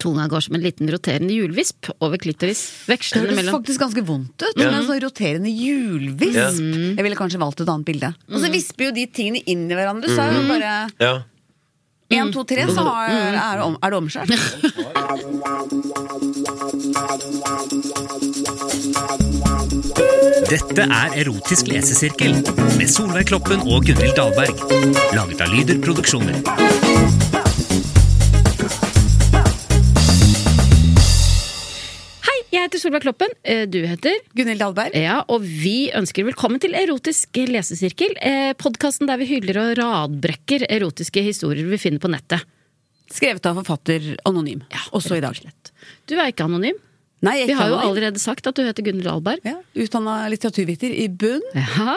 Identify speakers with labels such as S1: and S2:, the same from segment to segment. S1: Tunga går som en liten roterende hjulvisp over klitoris.
S2: Det
S1: Vekslende
S2: høres
S1: mellom
S2: faktisk ganske vondt ut. med en sånn roterende hjulvisp.
S1: Ja. Mm.
S2: Jeg ville kanskje valgt et annet bilde. Og så visper jo de tingene inn i hverandre. Så er det bare
S3: Ja.
S2: én, to, tre,
S1: Mm.
S2: så har, er, det om, er det omskjært.
S4: Dette er Erotisk lesesirkel med Solveig Kloppen og Gunhild Dahlberg. Laget av Lyder Produksjoner.
S1: Hei, jeg heter Solveig Kloppen. Eh, Du heter?
S2: Gunhild Dahlberg.
S1: Ja, og vi ønsker velkommen til Erotisk lesesirkel. Eh, Podkasten der vi hyller og radbrekker erotiske historier vi finner på nettet.
S2: Skrevet av forfatter anonym. Også i dag.
S1: Du er ikke anonym.
S2: Nei, jeg er
S1: Vi
S2: ikke
S1: har jo
S2: anonym.
S1: allerede sagt at du heter Gunhild Dahlberg.
S2: ja, Utdanna litteraturviter i bunn
S1: Ja.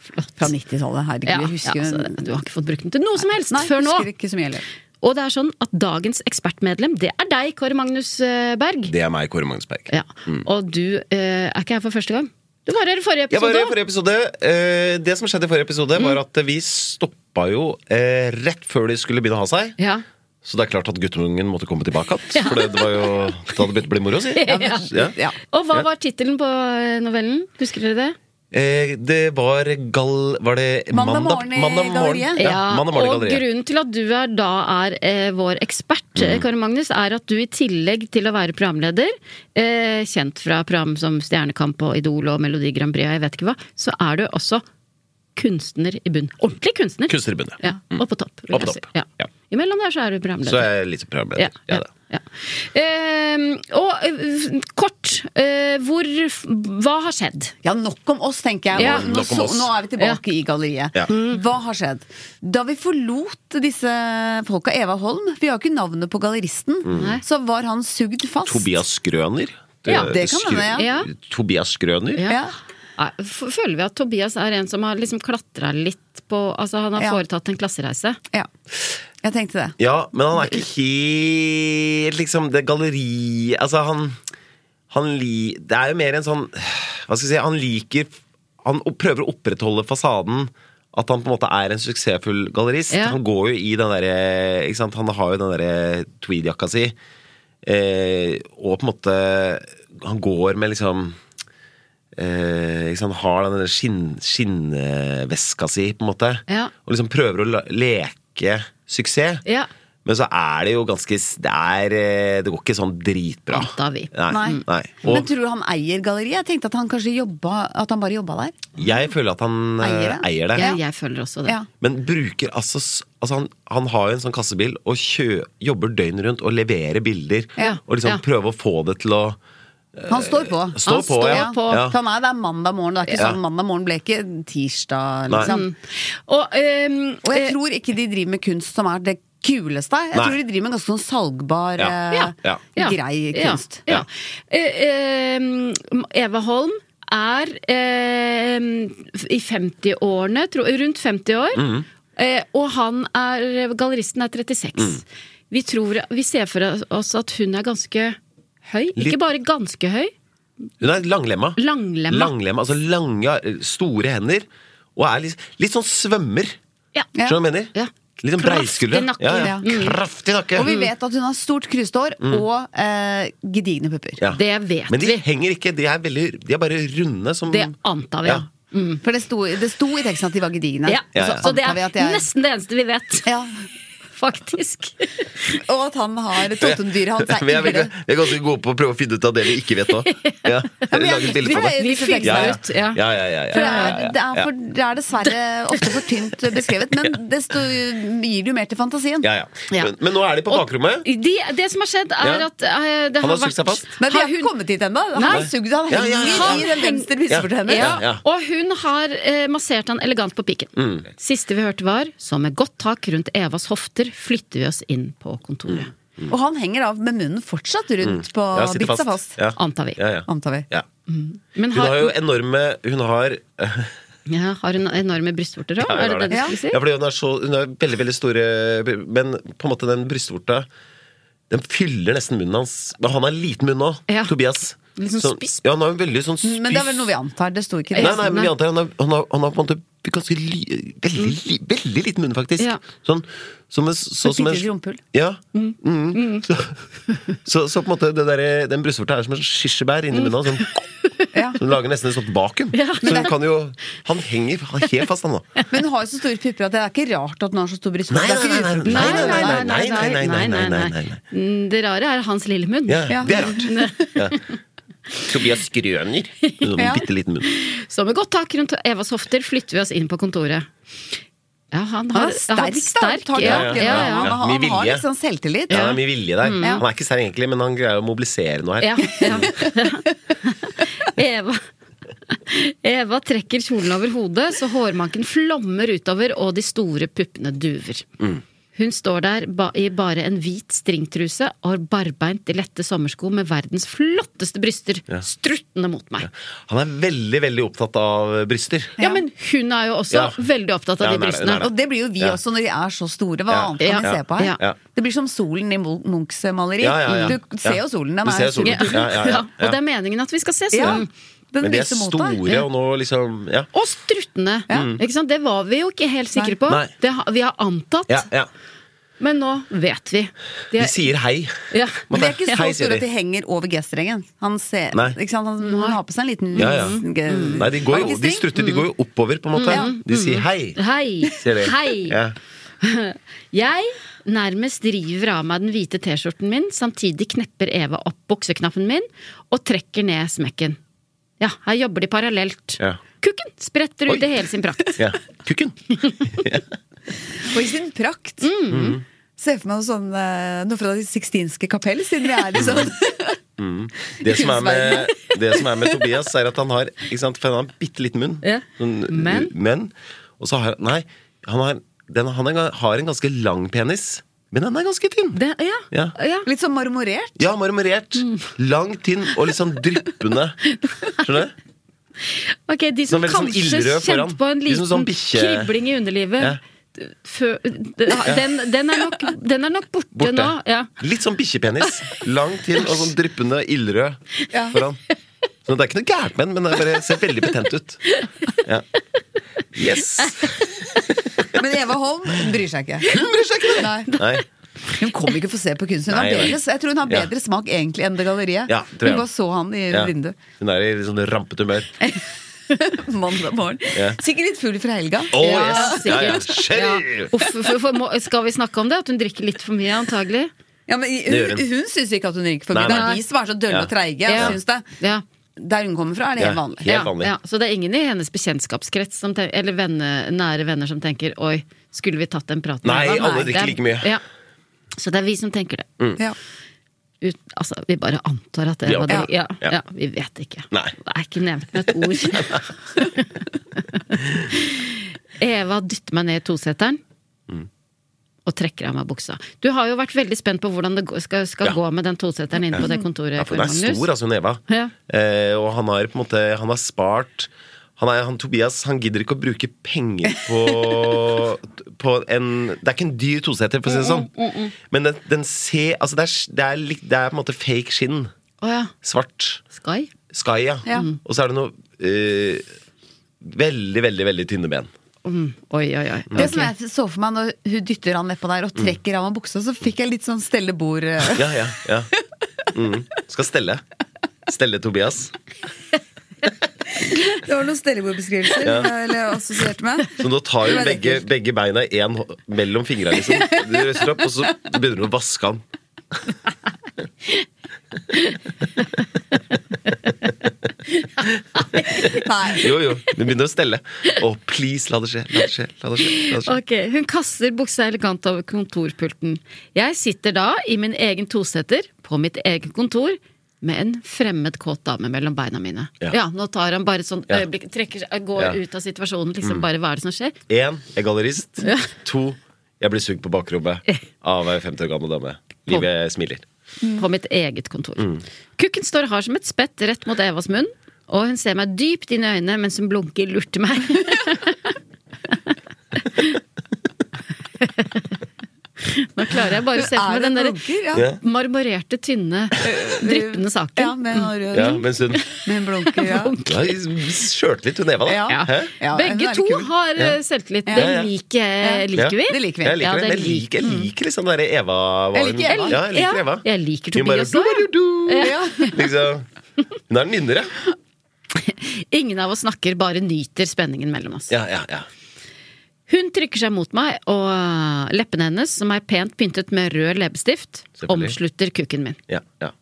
S1: Flott.
S2: fra 90-tallet. Herregud,
S1: Ja,
S2: jeg husker
S1: ja,
S2: jo-
S1: altså, du har ikke fått brukt den til noe som helst
S2: Nei,
S1: før nå.
S2: husker ikke så mye heller.
S1: Og det er sånn at dagens ekspertmedlem, det er deg, Kåre Magnus eh, Berg.
S3: Det er meg, Kåre Magnusberg.
S1: Ja. Og du eh, er ikke her for første gang. Du var her i forrige
S3: Mm. Jeg
S1: episode.
S3: var i
S1: også.
S3: forrige episode. eh, Det som skjedde i forrige episode, var at vi stoppa jo eh, rett før de skulle begynne å ha seg.
S1: Ja.
S3: Så det er klart at guttungen måtte komme tilbake igjen. For det det var jo Da hadde det begynt å bli moro, si. Ja.
S2: Ja.
S1: Og hva
S3: Ja.
S1: var tittelen på eh, novellen? Husker dere det?
S3: Eh, Det var gal... Var det
S2: Mandag morgen i galleriet.
S3: Ja, mandag morgen i
S1: og
S3: galleriet.
S1: grunnen til at du er, da er eh, vår ekspert,
S3: Mm.
S1: eh, Kåre Magnus, er at du i tillegg til å være programleder, eh, kjent fra program som Stjernekamp og Idol og Melodi Grand Prix og jeg vet ikke hva, så er du også kunstner i bunn. Ordentlig kunstner!
S3: Kunstnerbundet.
S1: Ja, og på topp. vil
S3: Og på
S1: jeg si.
S3: topp,
S1: Ja.
S3: ja.
S1: Imellom der så er du programleder.
S3: Mm. Så jeg er litt programleder. Ja, da.
S1: ja. Ehm, og eh, kort, eh, hvor Hva har skjedd?
S2: Ja, nok om oss, tenker jeg.
S1: Ja.
S2: Nå,
S3: Nok om
S2: så,
S3: oss.
S2: nå er vi tilbake i galleriet.
S3: Ja. Mm.
S2: Hva har skjedd? Da vi forlot disse folka, Eva Holm Vi har jo ikke navnet på galleristen. Så var han sugd fast.
S3: Mm. Tobias Grøner.
S1: Ja,
S2: det kan
S3: Skrø-
S2: hende,
S1: ja.
S3: Tobias Grøner.
S1: Ja.
S2: Ja.
S1: Nei, Ah, f- Føler vi at Tobias er en som har liksom klatra litt på Altså han har
S2: Ja.
S1: foretatt en klassereise?
S2: Ja. Jeg tenkte det.
S3: Ja, men han er ikke helt liksom det galleriet Altså, han, han li, Det er jo mer en sånn Hva skal jeg si Han liker Han opp- prøver å opprettholde fasaden. At han på en måte er en suksessfull gallerist.
S1: Ja.
S3: Han går jo i den derre ikke sant? Han har jo den derre tweedjakka si. Eh, og på en måte Han går med liksom eh, ikke sant? Har den der skinn, skinnveska si, på en måte.
S1: Ja.
S3: Og liksom prøver å la, leke suksess.
S1: Ja.
S3: Men så er det jo ganske s- Det, er, eh, det går ikke sånn dritbra.
S1: Antar vi.
S3: Nei,
S2: Nei.
S3: nei.
S2: Men
S3: Og
S2: tror du han eier galleriet? Jeg tenkte at han kanskje jobba, at han bare jobba der.
S3: jeg føler at han eh,
S2: Eier det?
S3: eier det.
S1: Ja, jeg føler også det.
S2: Ja.
S3: Men bruker altså, s- altså han, han har jo en sånn kassebil og kjø, jobber døgnet rundt og leverer bilder.
S2: Ja.
S3: Og liksom
S1: Ja.
S3: prøver å få det til å
S2: Han står på.
S3: stå Han på,
S1: ja. på.
S3: Ja.
S2: For han er der mandag morgen. Det er ikke
S3: Ja.
S2: sånn, mandag morgen ble ikke tirsdag,
S3: Nei.
S2: liksom.
S1: Og, ehm,
S2: Og jeg
S1: eh,
S2: tror ikke de driver med kunst som er det kuleste. Jeg
S3: Nei.
S2: tror de driver med ganske sånn salgbar,
S3: Ja.
S2: eh,
S1: Ja.
S3: Ja.
S2: grei kunst.
S1: Ja. ja. Eh, ehm, Eva Holm er ehm, i 50-årene, tro- rundt 50 år,
S3: Mhm.
S1: eh, og han er Galleristen er 36.
S3: Mhm.
S1: Vi, tror, vi ser for oss at hun er ganske høy.
S3: Litt-
S1: Ikke bare ganske høy,
S3: Hun er langlemma.
S1: Langlemma.
S3: Langlemma, altså lange, eh, store hender. Og er litt, litt sånn svømmer.
S1: Ja.
S2: Ja.
S3: Skjønner du hva jeg mener?
S1: Ja.
S3: Litt sånn
S1: Kraftig
S3: breiskuldre.
S1: nakke. Mm.
S3: Ja, ja.
S2: Ja.
S3: Kraftig nakke.
S2: Og vi vet at hun har stort krusthår og eh, gedigne pupper.
S3: Ja.
S1: Det vet
S3: Men de
S1: vi.
S3: henger ikke. De er, veldig, de er bare runde som
S1: Det antar vi.
S3: Ja.
S1: Ja.
S2: For det sto, det sto i teksten at de var gedigne.
S1: Ja.
S3: Ja, ja.
S1: Så det
S2: antar vi
S1: er
S2: at de er-
S1: nesten det eneste vi vet.
S2: Ja.
S1: faktisk.
S2: Og at han har Totemdyret hans er
S3: Vi er,
S2: ivrig.
S3: veldig- vi er ganske gode på å prøve å finne ut av det vi ikke vet nå. Ja.
S2: men
S3: Lage
S2: jeg-
S3: et bilde på det.
S1: Vi
S2: fikser
S1: fikser
S3: Ja,
S1: det
S3: ja.
S1: ut. Ja.
S3: Ja, ja, ja, ja,
S2: For det,
S3: ja,
S2: er,
S3: ja,
S2: det, er
S3: ja.
S2: for, det er dessverre ofte for tynt beskrevet, men desto gir det jo mer til fantasien.
S3: Ja, ja.
S1: Ja.
S3: Men, men nå er de på bakrommet.
S1: De, det som har skjedd, er
S3: Ja.
S1: at eh, det
S3: Han har
S1: har,
S3: sugd seg fast.
S1: vært
S2: Men vi
S1: har
S2: har ikke
S1: hun-
S2: kommet dit ennå. Han
S1: Nei.
S2: har sugd, han
S3: Ja,
S2: henger
S3: ja, ja,
S1: ja.
S2: i den venstre vispefortennene.
S1: Ja,
S3: Ja.
S1: Og hun har eh, massert han elegant på piken.
S3: Mm.
S1: Siste vi hørte var så med godt tak rundt Evas hofter flytter vi oss inn på kontoret.
S3: Mm.
S2: Og han henger av med munnen fortsatt rundt på
S3: Ja, sitter
S2: bitt seg fast.
S3: Ja.
S1: Antar vi.
S3: Ja, ja.
S2: Antar vi.
S3: Ja.
S1: Men
S3: Hun har
S1: har,
S3: jo enorme Hun har
S1: ja, har hun enorme brystvorter òg?
S3: Ja, hun
S1: er
S3: har
S1: det det du
S2: det.
S1: skulle si?
S3: Ja, fordi hun er, så, hun er veldig, veldig store Men på en måte den brystvorta Den fyller nesten munnen hans Men han har liten munn nå,
S1: Ja.
S3: Tobias
S1: Litt sånn
S3: Så-
S1: spiss.
S3: Ja, han har en veldig sånn spiss
S2: Men det er vel noe vi antar. Det sto ikke
S3: Nei,
S2: det.
S3: nei, men vi
S1: Nei.
S3: antar han har, han har, han har på en måte ganske li, veldig, li, veldig liten munn faktisk
S1: Ja.
S3: Sånn som en, så,
S2: Et
S3: som en
S2: lite rumpehull.
S3: Ja Mm. Så, så, så på en måte det der, Den brystvorta er som en kirsebær inni munnen hans sånn,
S2: Ja.
S3: Hun lager nesten et sånt vakuum Så hun kan jo Han henger helt fast han da
S2: Men hun har jo så store pupper at det er ikke rart at hun har så stor brystvorte.
S3: Nei,
S2: Det er ikke
S3: nei, nei,
S2: utenpå.
S1: Nei, nei, nei.
S3: nei, nei, nei, nei, nei, nei, nei, nei, nei.
S1: Mm, Det rare er hans lille munn.
S3: Ja,
S2: Ja.
S3: det er rart. Ja. Tobias Grøner. Med sånn
S2: Ja.
S3: bitte liten munn.
S1: Så med godt tak rundt Evas hofter flytter vi oss inn på kontoret. Ja, han
S2: Han
S1: har,
S2: er sterk,
S1: sterk,
S2: da. Han tar
S1: ja,
S2: tak i det.
S1: ja, ja,
S3: Ja,
S2: Han, han
S3: mye
S2: har
S3: vilje.
S2: liksom selvtillit.
S3: Ja, det er mye vilje der.
S2: Ja.
S3: Han er ikke sær egentlig, men han greier å mobilisere noe her.
S1: Ja, ja. Eva Eva trekker kjolen over hodet, så hårmanken flommer utover, og de store puppene duver.
S3: Mm.
S1: Hun står der ba i bare en hvit stringtruse og har barbeint i lette sommersko med verdens flotteste bryster struttende mot meg.
S3: Han er veldig veldig opptatt av bryster.
S1: Ja, men hun er jo også
S3: Ja.
S1: veldig opptatt av
S3: Ja,
S1: de
S3: hun er det, hun
S1: brystene.
S3: er
S2: Og det blir jo vi
S3: Ja.
S2: også når de er så store. Hva
S3: Ja.
S2: annet kan vi
S1: Ja.
S2: se på her?
S1: Ja.
S3: Ja.
S2: Det blir som solen i Mo- Munchs maleri.
S3: Ja, ja, ja.
S2: Du ser
S3: Ja.
S2: jo solen. Den
S3: Du
S2: er
S3: ser solen.
S2: superkul.
S3: Ja, ja, ja.
S1: Og det er meningen at vi skal se
S2: Ja.
S1: solen.
S2: Den
S3: Men de er
S2: lyser mot deg.
S3: store, og nå liksom Ja.
S1: Og struttende! Ikke sant? Det var vi jo ikke helt sikre på.
S3: Nei.
S1: Det, har- vi har antatt,
S3: ja, ja.
S1: men nå vet vi. De
S3: De
S1: er- Mm.
S3: sier hei.
S1: Ja.
S3: Må
S2: Men de er ikke så
S3: ta- hei, sier
S2: store at de henger over G-strengen. Han, ser,
S3: Nei.
S2: ikke sant? Han, han har på seg en liten
S3: Ja, ja.
S1: Mm.
S3: Mm.
S2: G-
S3: Nei, de, går jo, de
S2: Markestring.
S3: strutter. De går jo oppover, på en måte. De sier hei.
S1: Hei!
S3: Sier de.
S1: Mm. Hei!
S3: Ja.
S1: Jeg nærmest river av meg den hvite T-skjorten min, samtidig knepper Eva opp bukseknappen min og trekker ned smekken. Ja, her jobber de parallelt.
S3: Ja.
S1: Kukken spretter
S3: Oi.
S1: ut i hele sin prakt.
S3: Ja. Kukken.
S2: Og i sin prakt.
S3: Mm.
S2: Ser for meg noe sånn, eh, noe fra Det sixtinske kapell, siden vi er liksom
S3: Det som, er med, det som er med Tobias, er at han har ikke sant, for han har en bitte liten munn.
S1: Ja.
S3: Sånn,
S1: Men?
S3: men. Og så har Nei, han har, den, han er- har en ganske lang penis, men den er ganske tynn.
S1: Det, ja.
S3: Ja.
S1: ja.
S2: Litt sånn marmorert.
S3: Ja, marmorert.
S1: Mm.
S3: Lang, tynn og litt sånn dryppende. Skjønner du?
S1: Ok, de som
S3: Sånn veldig sånn
S1: kanskje
S3: ildrød foran.
S1: kjente på en
S3: De
S1: liten
S3: som sånn bikkje-
S1: kribling i underlivet.
S3: Ja.
S1: Fø- Den, den, er nok, den er nok borte,
S3: Borte.
S1: nå. Ja.
S3: Litt sånn bikkjepenis. Lang, tynn og sånn dryppende ildrød
S2: Ja.
S3: foran. Så det er ikke noe gærent med den, men det bare ser veldig betent ut. Ja. Yes!
S2: Men Eva Holm bryr seg ikke. Hun bryr seg ikke Nei.
S3: Nei.
S2: Hun kom ikke for å se på kunst. Hun har
S3: Nei, nei.
S2: bedre, jeg tror hun har
S3: Ja.
S2: bedre smak egentlig enn det galleriet.
S3: Ja, tror jeg.
S2: hun bare så han i
S3: Ja.
S2: vinduet
S3: Hun er i litt sånn rampete humør.
S2: mandag morgen. Sikkert litt full fra helga.
S3: Oh,
S1: Ja,
S3: yes. ja, ja.
S1: sikkert.
S3: Sherry!
S1: Uff, for, for, må, skal vi snakke om det? At hun drikker litt for mye, antagelig?
S2: Ja, men
S3: gjør
S2: hun
S3: hun.
S2: hun syns ikke at hun ryker for mye.
S3: Nei,
S2: Det er
S3: nei.
S2: de som er så dølle
S3: Ja.
S2: og treige.
S1: Ja.
S2: Synes det.
S1: Ja.
S2: Der hun kommer fra, er det helt
S3: Ja.
S2: vanlig.
S1: ja,
S3: Helt vanlig.
S1: Ja. Så det er ingen i hennes bekjentskapskrets som ten- eller venne, nære venner som tenker Oi, skulle vi tatt en prat med
S3: Nei,
S1: Eva?
S3: alle
S1: det er-
S3: drikker like mye.
S1: Ja. Så det er vi som tenker det.
S2: Ja.
S1: Ut, altså, vi bare antar at det
S3: Vi
S1: var det.
S3: antar.
S1: Ja,
S3: Ja.
S1: ja, vi vet ikke.
S3: Nei.
S1: Det er ikke nevnt med et ord. Eva dytter meg ned i toseteren.
S3: Mm.
S1: Og trekker av meg buksa. Du har jo vært veldig spent på hvordan det gå- skal, skal
S3: Ja.
S1: gå med den toseteren inne på det kontoret.
S3: Ja, for hun er
S1: Magnus.
S3: stor, altså, hun Eva.
S1: Ja.
S3: Eh, og han har på en måte Han har spart han, er, han Tobias han gidder ikke å bruke penger på, på en Det er ikke en dyr toseter, for å si
S1: Mm,
S3: det sånn. Men den, den ser Altså, det er, det, er, litt- det er på en måte fake skinn.
S1: Å ja.
S3: Svart.
S1: Sky?
S3: Sky, ja.
S2: Ja.
S3: Og så er det noe eh, veldig, veldig veldig tynne ben.
S1: Mm. Oi, oi, oi.
S2: Det som jeg så for meg når hun dytter han nedpå der og trekker av meg buksa, så fikk jeg litt sånn stellebord eh,
S3: Mm. Ja, ja, ja. Mm. Skal stelle. Stelle Tobias.
S2: Det var noen stellebordbeskrivelser jeg assosierte med.
S3: Så nå tar
S2: Det
S3: hun
S2: var
S3: begge,
S2: ekkelt.
S3: begge beina i én hå- mellom fingra, liksom. Du reiser opp, og så begynner hun å vaske han.
S2: Nei.
S3: Jo, jo. Hun begynner å stelle. Å, please, la det skje. La det skje. La det skje. La det skje.
S1: Ok, Hun kaster buksa elegant over kontorpulten. Jeg sitter da i min egen toseter på mitt eget kontor med en fremmed kåt dame mellom beina mine.
S3: Ja.
S1: Ja, nå tar han bare sånn
S3: Ja.
S1: øyeblikk, trekker, seg- går
S3: Ja. Mm.
S1: ut av situasjonen. liksom bare Hva er det som skjer?
S3: Én, jeg er gallerist. To, jeg blir sugd på bakrommet av ei 50 år gammel dame. Livet smiler.
S1: På mitt eget kontor.
S3: Mm.
S1: Kukken står hard som et spett rett mot Evas munn, og hun ser meg dypt inn i øynene mens hun blunker lurt til meg. Nå klarer jeg bare å se for
S2: Er
S1: meg
S2: det
S1: den derre
S2: blunker? Ja.
S3: Ja.
S1: marmorerte, tynne, dryppende saken.
S2: Ja, med en rød
S3: Ja, mens hun
S2: med en blunker. Ja.
S3: Du har skjørtlitt hun Eva, da.
S2: Ja.
S3: Hæ?
S2: Ja, den
S1: Begge
S2: er
S1: to
S2: kul.
S1: har eh, selvtillit.
S2: Ja,
S3: ja.
S1: Det liker, eh, liker vi.
S2: Det liker vi.
S3: Jeg liker
S1: Ja, det mm.
S3: det. Men jeg liker, jeg liker liksom den derre Eva
S2: Jeg liker Eva.
S3: Ja, jeg liker
S1: Ja,
S3: Eva.
S1: jeg liker
S3: Hun bare,
S1: Tobias også, ja.
S3: du, du, du.
S2: Ja.
S3: Liksom. Hun er en nynner, ja.
S1: Ingen av oss snakker, bare nyter spenningen mellom oss.
S3: Ja, ja, ja.
S1: Hun trykker seg mot meg, og eh, leppene hennes, som er pent pyntet med rød leppestift,
S3: Selvfølgelig.
S1: omslutter kukken min.
S3: ja, ja.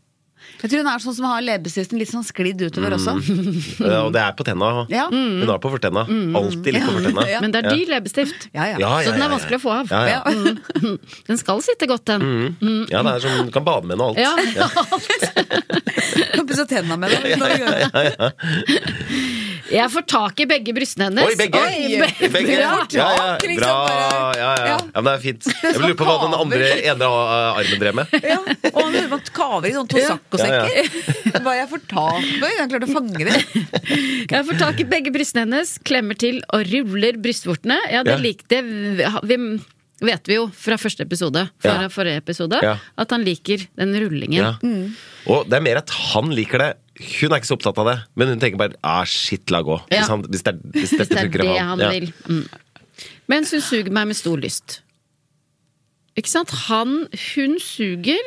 S2: Jeg tror hun er sånn som har leppestiften litt sånn sklidd utover også.
S3: Eh, Og det er på tenna.
S2: Ja.
S1: Mm.
S3: Hun har på fortenna. Alltid litt på fortenna.
S2: Ja.
S1: Men det er dyr leppestift,
S2: Ja, Mm. ja.
S3: Ja, ja,
S1: så den
S3: ja,
S1: er
S3: ja.
S1: vanskelig å få av.
S3: Ja, Mm. ja.
S1: Den skal sitte godt, den.
S3: ja, det er som du kan bade med henne og alt.
S1: Mm. Ja.
S2: Kan pusse tenna med det. når du gjør det.
S1: Jeg får tak i begge brystene hennes.
S3: Oi, begge!
S1: be-
S3: Begge.
S1: Bra.
S3: Ja, ja,
S2: Tak, liksom,
S3: bra.
S2: bare-
S3: Ja, ja. ja,
S2: Ja.
S3: men det er fint. Jeg lurer på hva den andre ene eh, armen drev med.
S2: Ja. Og han lurer på at kaver i sånn Tosacco-sekker. Hva jeg får tak i? Han klarte å fange det.
S1: Jeg får tak i begge brystene hennes, klemmer til og ruller brystvortene. Ja, det
S3: Ja.
S1: likte vi, vi- vet vi jo fra første episode, fra
S3: Ja.
S1: forrige episode,
S3: Ja.
S1: at han liker den rullingen.
S3: Ja. Og det er mer at han liker det. Hun er ikke så opptatt av det, men hun tenker bare ah, shit, la gå.
S1: Ja.
S3: Hvis, han, hvis det er, hvis
S1: Hvis det er
S3: funker for
S1: det han
S3: Ja.
S1: vil. Mm. Mens hun suger meg med stor lyst. Ikke sant? Han Hun suger,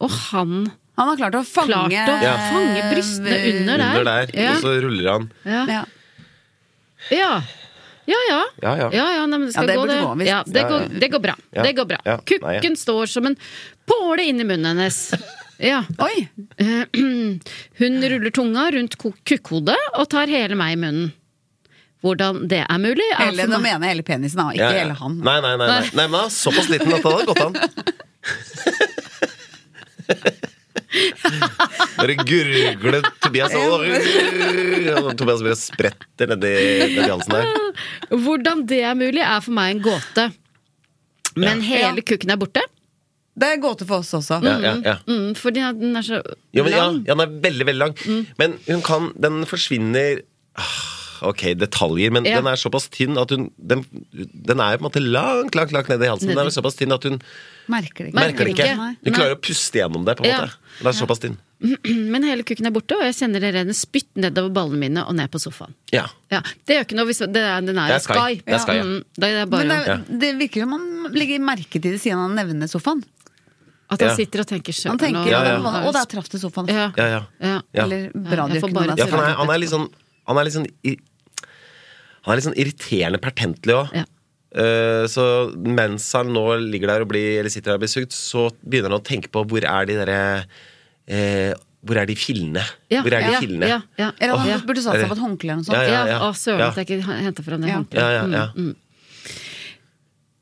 S1: og han
S2: Han har klart å fange eh,
S1: klarte å fange brystene under der.
S3: Under der,
S1: Ja.
S3: og så ruller han.
S1: Ja.
S2: Ja.
S1: Ja. Ja ja.
S3: Ja, ja.
S1: ja, nei, men det, skal
S2: Ja, det
S1: gå,
S2: burde
S1: det.
S2: gå, visst.
S1: ja, det,
S3: Ja, ja.
S1: Går, det går bra.
S3: Ja.
S1: Det går bra.
S3: Ja.
S1: Kukken
S3: Nei, ja.
S1: står som en påle inni munnen hennes. Ja.
S2: Oi!
S1: Hun ruller tunga rundt ko- kukkhodet og tar hele meg i munnen. Hvordan det er mulig, er
S2: Hele, nå
S1: for meg
S2: mener jeg hele penisen, da. Ikke
S3: Ja, ja.
S2: hele han.
S3: Nei, nei, nei, nei. nei men han er såpass liten at han hadde gått an. Bare gurgler Tobias og og Tobias bare spretter nedi nedi halsen der.
S1: Hvordan det er mulig, er for meg en gåte. Men hele kukken er borte,
S2: Det er gåte for oss også.
S3: Ja, ja, ja.
S1: mm, fordi den er så
S3: Jo, men, ja,
S1: lang. Mm.
S3: ja, den er veldig, veldig lang. Men hun kan Den forsvinner Ah, Ok, detaljer, men
S1: Ja.
S3: den er såpass tynn at hun Den, den er på en måte langt, langt langt nede i halsen. Den er såpass tynn at hun
S2: Merker det ikke.
S3: merker det ikke.
S1: Nei.
S3: Hun klarer å puste gjennom det, på en
S1: Ja.
S3: måte. Den er såpass tynn.
S1: Men hele kukken er borte, og jeg kjenner det renner spytt nedover ballene mine og ned på sofaen.
S3: Ja.
S1: Ja, Det gjør ikke noe hvis det er, den er,
S3: Det
S1: jo
S3: er
S1: Sky.
S3: Sky. Det er Sky, ja.
S1: Mm, da er det bare
S2: Men det, det virker som han legger merke til det siden han nevner sofaen.
S1: at han
S3: Ja.
S1: sitter og tenker sjøl.
S2: Han tenker
S3: Ja,
S2: ja,
S3: ja.
S2: Å, der traff det sofaen.
S1: Ja.
S3: Ja, ja.
S1: Ja.
S3: Ja.
S2: Eller radioøkken.
S1: Ja, jeg får bare
S3: Ja, for han er, han er litt sånn Han er litt sånn, ir- han er litt sånn irriterende pertentlig òg.
S1: Ja.
S3: så mens han nå ligger der og blir, eller sitter der og blir sugd, så begynner han å tenke på hvor er de derre eh, Hvor er de fillene?
S1: Ja,
S3: Hvor er de
S1: ja,
S3: fillene?
S1: ja, ja.
S2: Eller han
S3: Åh,
S2: burde satt
S3: er
S2: seg på
S3: det-
S2: et håndkle eller noe
S3: Ja,
S2: sånt.
S1: Ja,
S3: ja.
S1: Å, søren
S3: Ja.
S1: at jeg ikke henter fra det
S2: Ja.
S1: håndkleet.
S3: Ja, ja, ja.
S1: mm,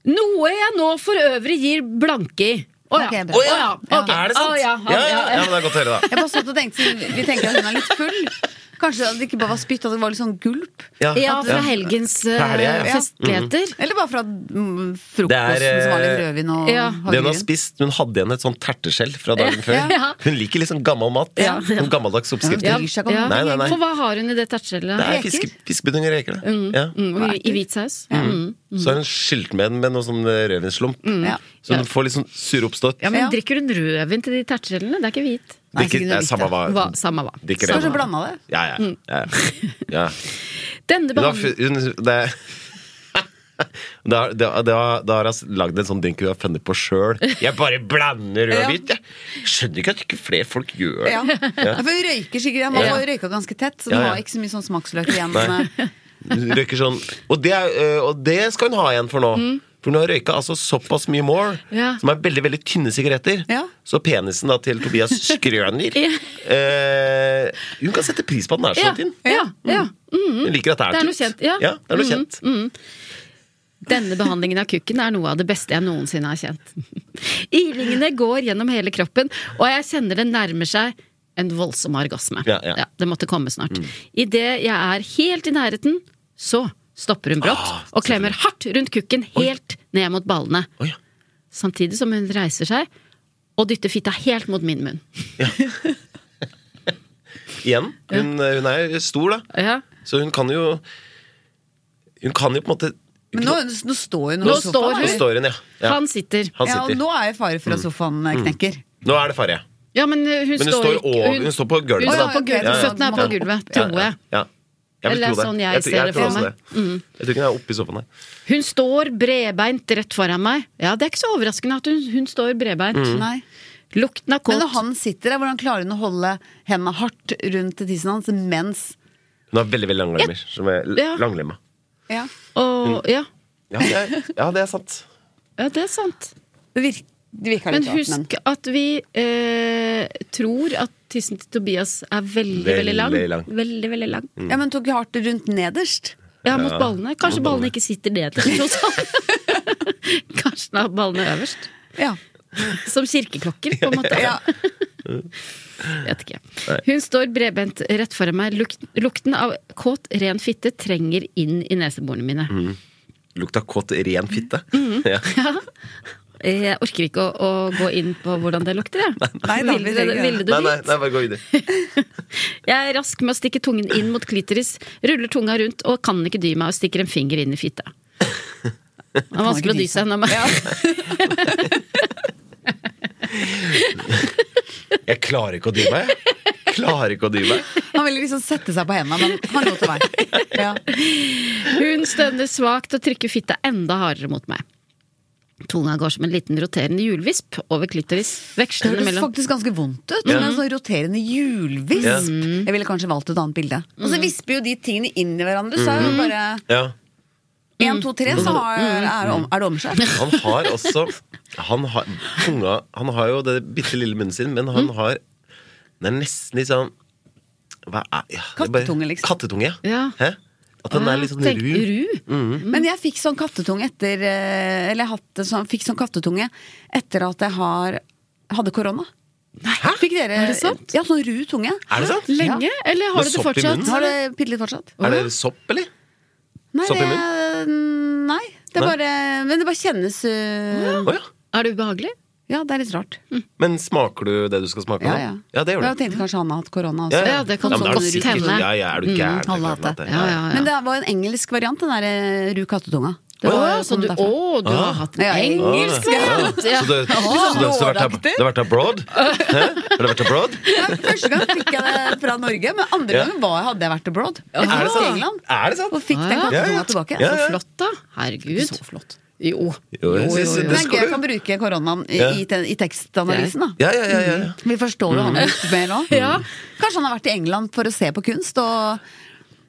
S1: Noe jeg nå for øvrig gir blanke i. Å ja.
S2: Ok, bra.
S1: Å ja. ok.
S3: Er det sant?
S1: Å ja.
S3: ja, ja, ja, men det er godt å høre, da.
S2: Jeg bare satt og tenkte, siden vi tenker at hun er litt full. Kanskje at det ikke bare var spytt, at det var litt sånn gulp.
S3: Ja,
S1: Ja, fra helgens eh,
S3: Fra helga, ja.
S1: festligheter.
S2: Eller bare fra mm, frokosten
S3: Det er, eh,
S2: som var litt rødvin og
S1: ja.
S3: Det hun har
S2: havregryn.
S3: spist, hun hadde igjen et sånt terteskjell fra dagen før.
S1: Ja.
S3: Hun liker litt sånn gammel mat.
S1: Ja.
S3: Sånn gammeldags oppskrifter.
S2: Ja, hun bryr seg ikke om
S3: Nei, nei, nei.
S1: For hva har hun i det tertskjellet?
S3: Det er
S2: Reker.
S3: fiske- fiskebudding og reker, det. Ja.
S1: Mm, I i hvit saus? Mm.
S3: Så har hun skylt med den med noe sånn eh, rødvinslump.
S2: Ja.
S3: Så hun får litt sånn sure oppstått.
S1: Ja, men
S2: Ja.
S1: drikker hun rødvin til de tertskjellene? Det er ikke hvit.
S2: Nei,
S3: Drikker-
S2: sikkert
S3: det er
S2: noe
S3: samme hva.
S1: Hva, samme hva.
S3: Drikker
S2: Kanskje
S3: det.
S2: blanda det.
S1: Mm.
S3: Ja, ja. ja, ja.
S1: Denne
S3: Hun har,
S1: behandlingen
S3: fu- hun, det, Da, da, da, da har jeg lagd en sånn drink vi har funnet på sjøl. Jeg bare blander rød og hvit. Jeg skjønner ikke at ikke flere folk gjør det.
S2: Ja. For hun røyker sikkert. Han har røyka ganske tett, så
S3: Ja,
S2: den
S3: ja.
S2: har ikke så mye sånn smaksløk igjen.
S3: Nei. Hun Røyker sånn og det, er- øh, og det skal hun ha igjen for nå. For hun har røyka altså såpass mye more,
S1: Mm. Ja.
S3: som er veldig veldig tynne sigaretter.
S2: Ja.
S3: Så penisen da til Tobias Skrøner eh, Hun kan sette pris på at den er så
S1: Ja,
S3: tynn.
S1: ja, Mm. ja.
S3: Hun liker at det er,
S1: Det er noe
S3: tynt.
S1: kjent, ja.
S3: det er noe
S1: Mhm,
S3: kjent.
S1: Denne behandlingen av kukken er noe av det beste jeg noensinne har kjent. Ilingene går gjennom hele kroppen, og jeg kjenner det nærmer seg en voldsom orgasme.
S3: Ja, Mm. ja.
S1: det måtte komme snart. Idet jeg er helt i nærheten, så stopper hun brått
S3: Ah,
S1: og klemmer hardt rundt kukken helt ned mot ballene.
S3: Å, ja.
S1: Samtidig som hun reiser seg og dytter fitta helt mot min munn.
S3: Igjen. Hun, eh, hun er stor, da.
S1: Ja.
S3: Så hun kan jo Hun kan jo på en måte
S2: Men nå, nå står hun
S1: Nå
S2: over sofaen.
S1: står
S3: Nå
S1: hun.
S2: eller?
S3: står hun, ja. ja.
S1: Han sitter.
S3: Han
S2: Ja, og
S3: sitter. Mm.
S2: nå er jeg i fare for at sofaen eh, knekker.
S3: Nå er det farge.
S1: Ja, men eh, hun,
S3: Men hun
S1: står,
S3: står,
S1: ikke-
S3: over, hun står på gulvet.
S1: Hun
S3: da.
S1: står på
S2: Ja,
S1: gulvet.
S2: ja, ja.
S1: Føttene er på gulvet,
S3: Ja,
S1: tror jeg.
S3: Ja, ja. Jeg vil
S1: Eller
S3: tro det.
S1: sånn jeg
S3: tror-
S1: ser det
S3: tror
S1: for
S3: også
S1: meg. Mm.
S3: Jeg tror ikke hun er oppe i sofaen der.
S1: Hun står bredbeint rett foran meg. Ja, Det er ikke så overraskende at hun, hun står bredbeint.
S3: Mm.
S2: Nei.
S1: Lukten av
S2: Men
S1: kåt.
S2: når han sitter der, hvordan klarer hun å holde hendene hardt rundt tissen hans mens
S3: Hun har veldig veldig lange armer. Som er l-
S1: Ja.
S3: langlemma.
S2: ja.
S3: Mm.
S1: Og, ja,
S3: Ja, det er- ja, det er sant.
S1: ja, det er sant.
S2: Det virker, det virker
S1: Men
S2: litt rart,
S1: husk at vi eh, tror at tissen til Tobias er veldig, veldig,
S3: Veldig
S1: lang.
S3: lang.
S1: Veldig, veldig lang.
S2: men, ja, men tok hardt rundt nederst.
S1: Ja, mot ballene. Kanskje ballene ikke sitter nederst hos han. Kanskje den har ballene øverst.
S2: Ja.
S1: Som kirkeklokker, på en måte.
S2: Ja.
S1: Vet ikke. Hun står bredbent rett foran meg. Luk- Lukten av kåt, ren fitte trenger inn i neseborene mine.
S3: Lukta kåt ren fitte. Ja.
S1: Jeg orker ikke å, å gå inn på hvordan det lukter, jeg.
S2: Nei, da, vi
S1: ville,
S2: trenger ikke
S1: ville du
S3: Nei, nei,
S1: dit?
S3: nei, bare gå videre.
S1: Jeg er rask med å stikke tungen inn mot klitoris, ruller tunga rundt og kan ikke dy meg og stikker en finger inn i fitta. Det er vanskelig å dy seg når man
S3: Jeg klarer ikke å dy meg. jeg. Klarer ikke å dy meg.
S2: Han ville liksom sette seg på hendene, men han lå til vei. Ja.
S1: Hun stønner svakt og trykker fitta enda hardere mot meg. Tunga går som en liten roterende hjulvisp over klitoris,
S2: Det
S1: vekslende
S2: høres
S1: mellom
S2: faktisk ganske vondt ut. Med en sånn roterende hjulvisp.
S3: Ja. Mm.
S2: Jeg ville kanskje valgt et annet bilde. Og så visper jo de tingene inn i hverandre. Så er det bare
S3: Ja.
S2: én, to, tre, så har,
S3: Mm.
S2: er, det om, er det omskjært.
S3: Han har også Han har, tunga, han har jo det bitte lille munnen sin, men han har Den er nesten litt sånn hva er, ja, det er bare-
S2: Kattetunge, liksom.
S3: Kattetunge, ja.
S1: Ja.
S3: Hæ? At den er litt sånn
S1: Tenk-
S3: ru.
S1: ru.
S2: Men jeg fikk sånn kattetunge etter eh, Eller jeg hadde sånn, fikk sånn kattetunge etter at jeg har, hadde korona. Fikk dere
S1: Er det sant?
S2: Ja, sånn ru tunge. Mm.
S3: Er det sant?
S1: Lenge? Eller har
S3: Med
S1: du det
S3: sopp i
S1: fortsatt?
S3: munnen?
S2: Har det pillet fortsatt?
S3: Er det sopp, eller?
S2: Nei,
S3: Sopp i
S2: det, nei, det er
S3: Nei?
S2: bare Men det bare kjennes øh,
S3: Å ja.
S1: Er det ubehagelig?
S2: Ja, det er litt rart.
S3: Men smaker du det du skal smake
S2: Ja,
S3: nå?
S2: ja.
S3: det
S2: Men
S3: gjør
S2: Jeg
S3: du.
S2: tenkte kanskje han har hatt korona også.
S3: Ja,
S1: Ja, det kan
S3: men da er
S1: sånn godt
S3: du
S1: Mm,
S3: sikkert-
S1: hende.
S3: Ja, ja, er du gæren?
S2: alle har
S3: Det er klart
S2: hatt det.
S1: Ja, ja, ja.
S2: Men det var en engelsk variant, den der eh, ru kattetunga. Det
S1: Å,
S2: var
S1: ja,
S2: jo
S1: så
S2: sånn
S1: du,
S2: derfra.
S1: å, du
S3: Ah.
S1: har hatt en
S2: Ja, jeg-
S1: engelsk variant! Ja.
S3: Så du, så du, så du, har vært, ab- du har vært abroad? Hæ? Har du vært abroad?
S2: Ja, første gang fikk jeg det fra Norge, men andre
S3: Ja.
S2: gangen var, hadde jeg vært abroad. Jeg
S3: Er det
S2: dro til
S3: sant?
S2: England
S3: Er det sant?
S2: og fikk den
S1: Ja,
S3: ja.
S2: kattetunga tilbake.
S3: Ah. Ja,
S1: Så
S3: ja.
S1: flott, da. Herregud.
S2: Så flott.
S1: Jo.
S3: Jo, jeg synes
S2: Men Det er
S3: skal
S2: gøy
S3: du.
S2: å kan bruke koronaen i,
S3: Ja.
S2: i, te- i tekstanalysen, da.
S3: Ja, ja, ja, ja, Mm. ja.
S2: Vi forstår jo han litt mer nå.
S1: Ja.
S2: Kanskje han har vært i England for å se på kunst og,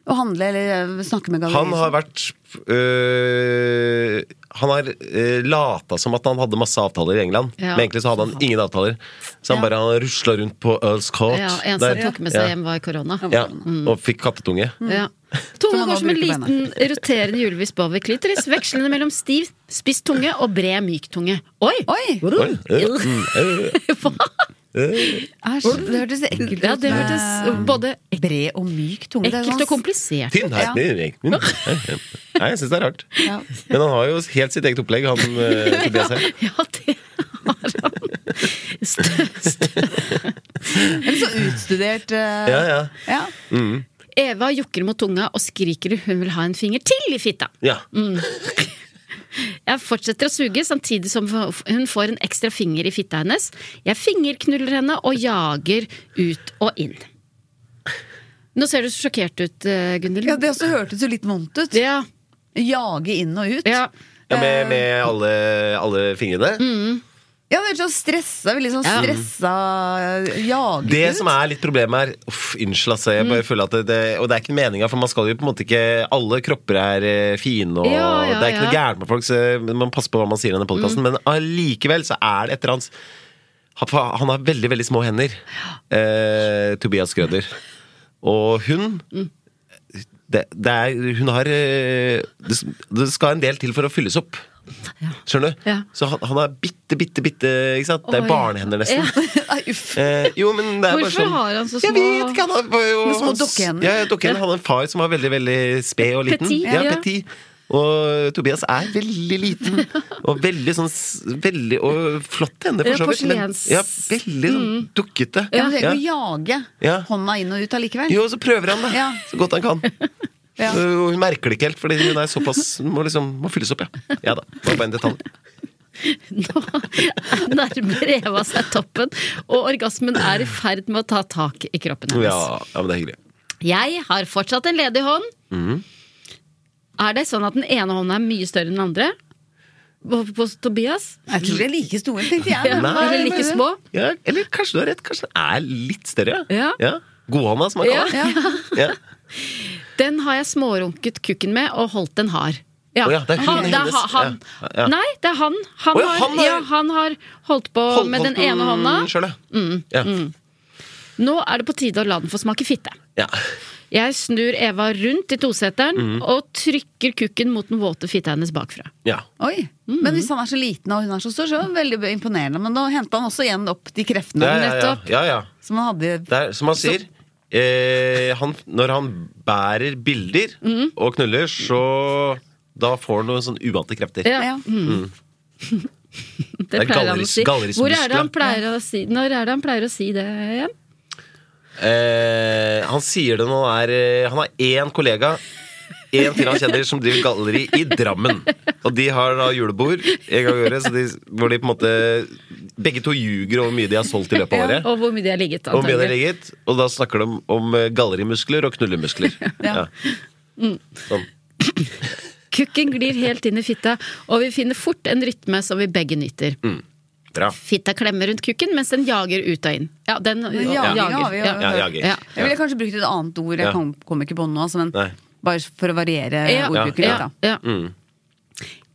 S2: og handle eller øh, snakke med
S3: Han har
S2: galleriet.
S3: vært øh, Han har øh, lata som at han hadde masse avtaler i England,
S1: Ja.
S3: men egentlig så hadde han ingen avtaler. Så han bare han rusla rundt på Earls Court
S1: Ja, en som
S3: der.
S1: tok med
S3: Ja.
S1: seg Mm. hjem, var korona.
S3: Ja, og fikk kattetunge.
S1: Ja. Mm. Tunga
S2: Som han
S1: går
S2: nå
S1: som en
S2: bruker på
S1: liten roterende hjulvisp over klitoris, vekslende mellom stiv, spiss tunge og bred, myk tunge. Oi!
S2: Oi!
S3: Oi, øh, mm, øh,
S2: Æsj, det hørtes ekkelt ut.
S1: Ja, det
S2: med
S1: hørtes både
S2: Bred og myk tunge. Det er
S1: ekkelt
S2: sånn-
S1: og komplisert
S3: tynn
S2: Ja.
S3: her. Nei, jeg syns det er rart.
S2: Ja.
S3: Men han har jo helt sitt eget opplegg, han øh, Tobias her.
S1: Ja, det har han. Stø, stø.
S2: Eller så utstudert eh,
S3: Ja, ja.
S2: ja.
S1: Eva jukker mot tunga og skriker hun vil ha en finger til i fitta.
S3: ja.
S1: Jeg fortsetter å suge, samtidig som hun får en ekstra finger i fitta hennes. Jeg fingerknuller henne og jager ut og inn. Nå ser du så sjokkert ut, eh, Gunhild.
S2: ja, det også hørtes jo litt vondt ut.
S1: Ja.
S2: jage inn og ut.
S1: Ja.
S3: Ja, med, med alle, alle fingrene.
S2: Ja, det er sånn stressa, veldig sånn
S1: Ja.
S2: stressa jaget
S3: Det
S2: ut.
S3: som er litt problemet her Uff, Unnskyld, altså. Jeg
S1: Mm.
S3: bare føler at det, det, og det er ikke meninga, for man skal jo på en måte ikke Alle kropper er eh, fine, og
S1: Ja, ja,
S3: det er ikke noe
S1: ja. Mm.
S3: gærent med folk, så man passer på hva man sier i denne podkasten. Men allikevel så er det et eller annet Han han har veldig, veldig små hender. Eh, Tobias Grøder. Og hun
S1: Mm.
S3: det, det er, hun har eh, det, det skal en del til for å fylles opp. Skjønner du?
S1: Ja.
S3: Så han, han er bitte, bitte, bitte ikke sant? Det
S1: Oi.
S3: er barnehender, nesten.
S1: Ja.
S2: Nei, uff.
S3: Eh, jo, men det er bare
S1: Hvorfor
S3: sånn
S1: har han så
S3: Jeg
S1: små-
S3: vet ikke, han var jo
S2: Med små
S3: hans-
S2: dokkehender.
S3: Ja, ja, dokkehender. Han hadde en far som var veldig, veldig sped og liten.
S1: Petit,
S3: ja,
S1: ja.
S3: petit. Og Tobias er veldig liten. Og veldig sånn s- veldig, Og flotte hender, for
S1: Ja,
S3: så vidt. men-
S1: porselens.
S3: Ja, veldig sånn dukkete.
S2: Mm. Ja, men det er
S3: Ja.
S2: jo å jage
S3: Ja.
S2: hånda inn og ut allikevel.
S3: Jo, så prøver han, da.
S2: Ja.
S3: Så godt han kan.
S2: Ja.
S3: Og hun merker det ikke helt, fordi hun er såpass Må liksom, må fylles opp, ja. Ja da. Det var bare en detalj.
S1: Nå nærmer Eva seg toppen, og orgasmen er i ferd med å ta tak i kroppen hennes.
S3: Ja, ja, men det er hyggelig.
S1: Jeg har fortsatt en ledig hånd.
S3: Mhm.
S1: Er det sånn at den ene hånden er mye større enn den andre? På, på Tobias?
S2: Jeg tror de er like store, tenkte jeg.
S1: Ja,
S2: men-
S3: Nei,
S1: Eller like
S3: men-
S1: små?
S3: Ja, eller kanskje du har rett. Kanskje den er litt større.
S1: Ja.
S3: Godhånda, som man
S1: Ja.
S3: kaller det. Ja.
S1: Den har jeg smårunket kukken med og holdt den hard. Ja.
S3: Å ja, det er
S1: han,
S3: hun
S1: det er
S3: hennes.
S1: ha- han.
S3: Ja, ja.
S1: Nei, det er han. Han,
S3: Å ja,
S1: har,
S3: han er-
S1: ja, han har holdt på
S3: Hold-
S1: med den
S3: holdt
S1: ene hånda. Mm.
S3: Selv, ja. Ja.
S1: Nå er det på tide å la den få smake fitte.
S3: ja.
S1: Jeg snur Eva rundt i toseteren og trykker kukken mot den våte fitta hennes bakfra.
S3: ja.
S2: Oi. Men hvis han er så liten og hun er så stor, så er det veldig imponerende. Men da henta han også igjen opp de kreftene
S3: Ja, ja, ja.
S1: nettopp.
S3: ja, ja.
S2: som han hadde.
S3: Det er, som han sier eh, han, Når han bærer bilder
S1: Mm.
S3: og knuller, så da får han noen sånn uante krefter.
S1: Ja,
S2: Ja.
S1: det
S3: er
S1: pleier han å
S3: galleris-
S1: si. Hvor er det han
S3: gallerismuskler.
S1: pleier å si Når er det han pleier å si det igjen?
S3: Eh, han sier det når han er eh, Han har én kollega. En til han kjenner som driver galleri i Drammen. Og de har da julebord en gang i året, så de, hvor de på en måte Begge to ljuger over hvor mye de har solgt i løpet av året.
S1: Og hvor mye de har ligget,
S3: Og med det
S1: antagelig.
S3: ligget, og da snakker de om, om eh, gallerimuskler og knullemuskler. Ja. Sånn.
S1: Kukken glir helt inn i fitta, og vi finner fort en rytme som vi begge nyter.
S3: Bra.
S1: Fitta klemmer rundt kukken mens den jager ut og inn. Ja, den
S2: jaginga
S1: jager.
S2: har vi jo
S1: Ja.
S3: Ja, jager.
S1: Ja.
S2: Jeg ville kanskje brukt et annet ord,
S3: Ja.
S2: jeg kom, kom ikke på noe, altså, men
S3: Nei.
S2: bare for å variere
S1: Ja,
S2: ordbruken
S1: ja,
S2: litt, da.
S1: ja.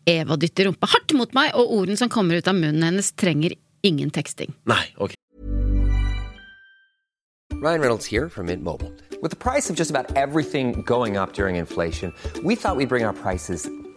S1: Eva dytter rumpa hardt mot meg, og ordene som kommer ut av munnen hennes, trenger ingen teksting.
S3: Nei, ok.
S5: Ryan Reynolds here from Mint Mobile. With the price of just about everything going up during inflation, we thought we'd bring our prices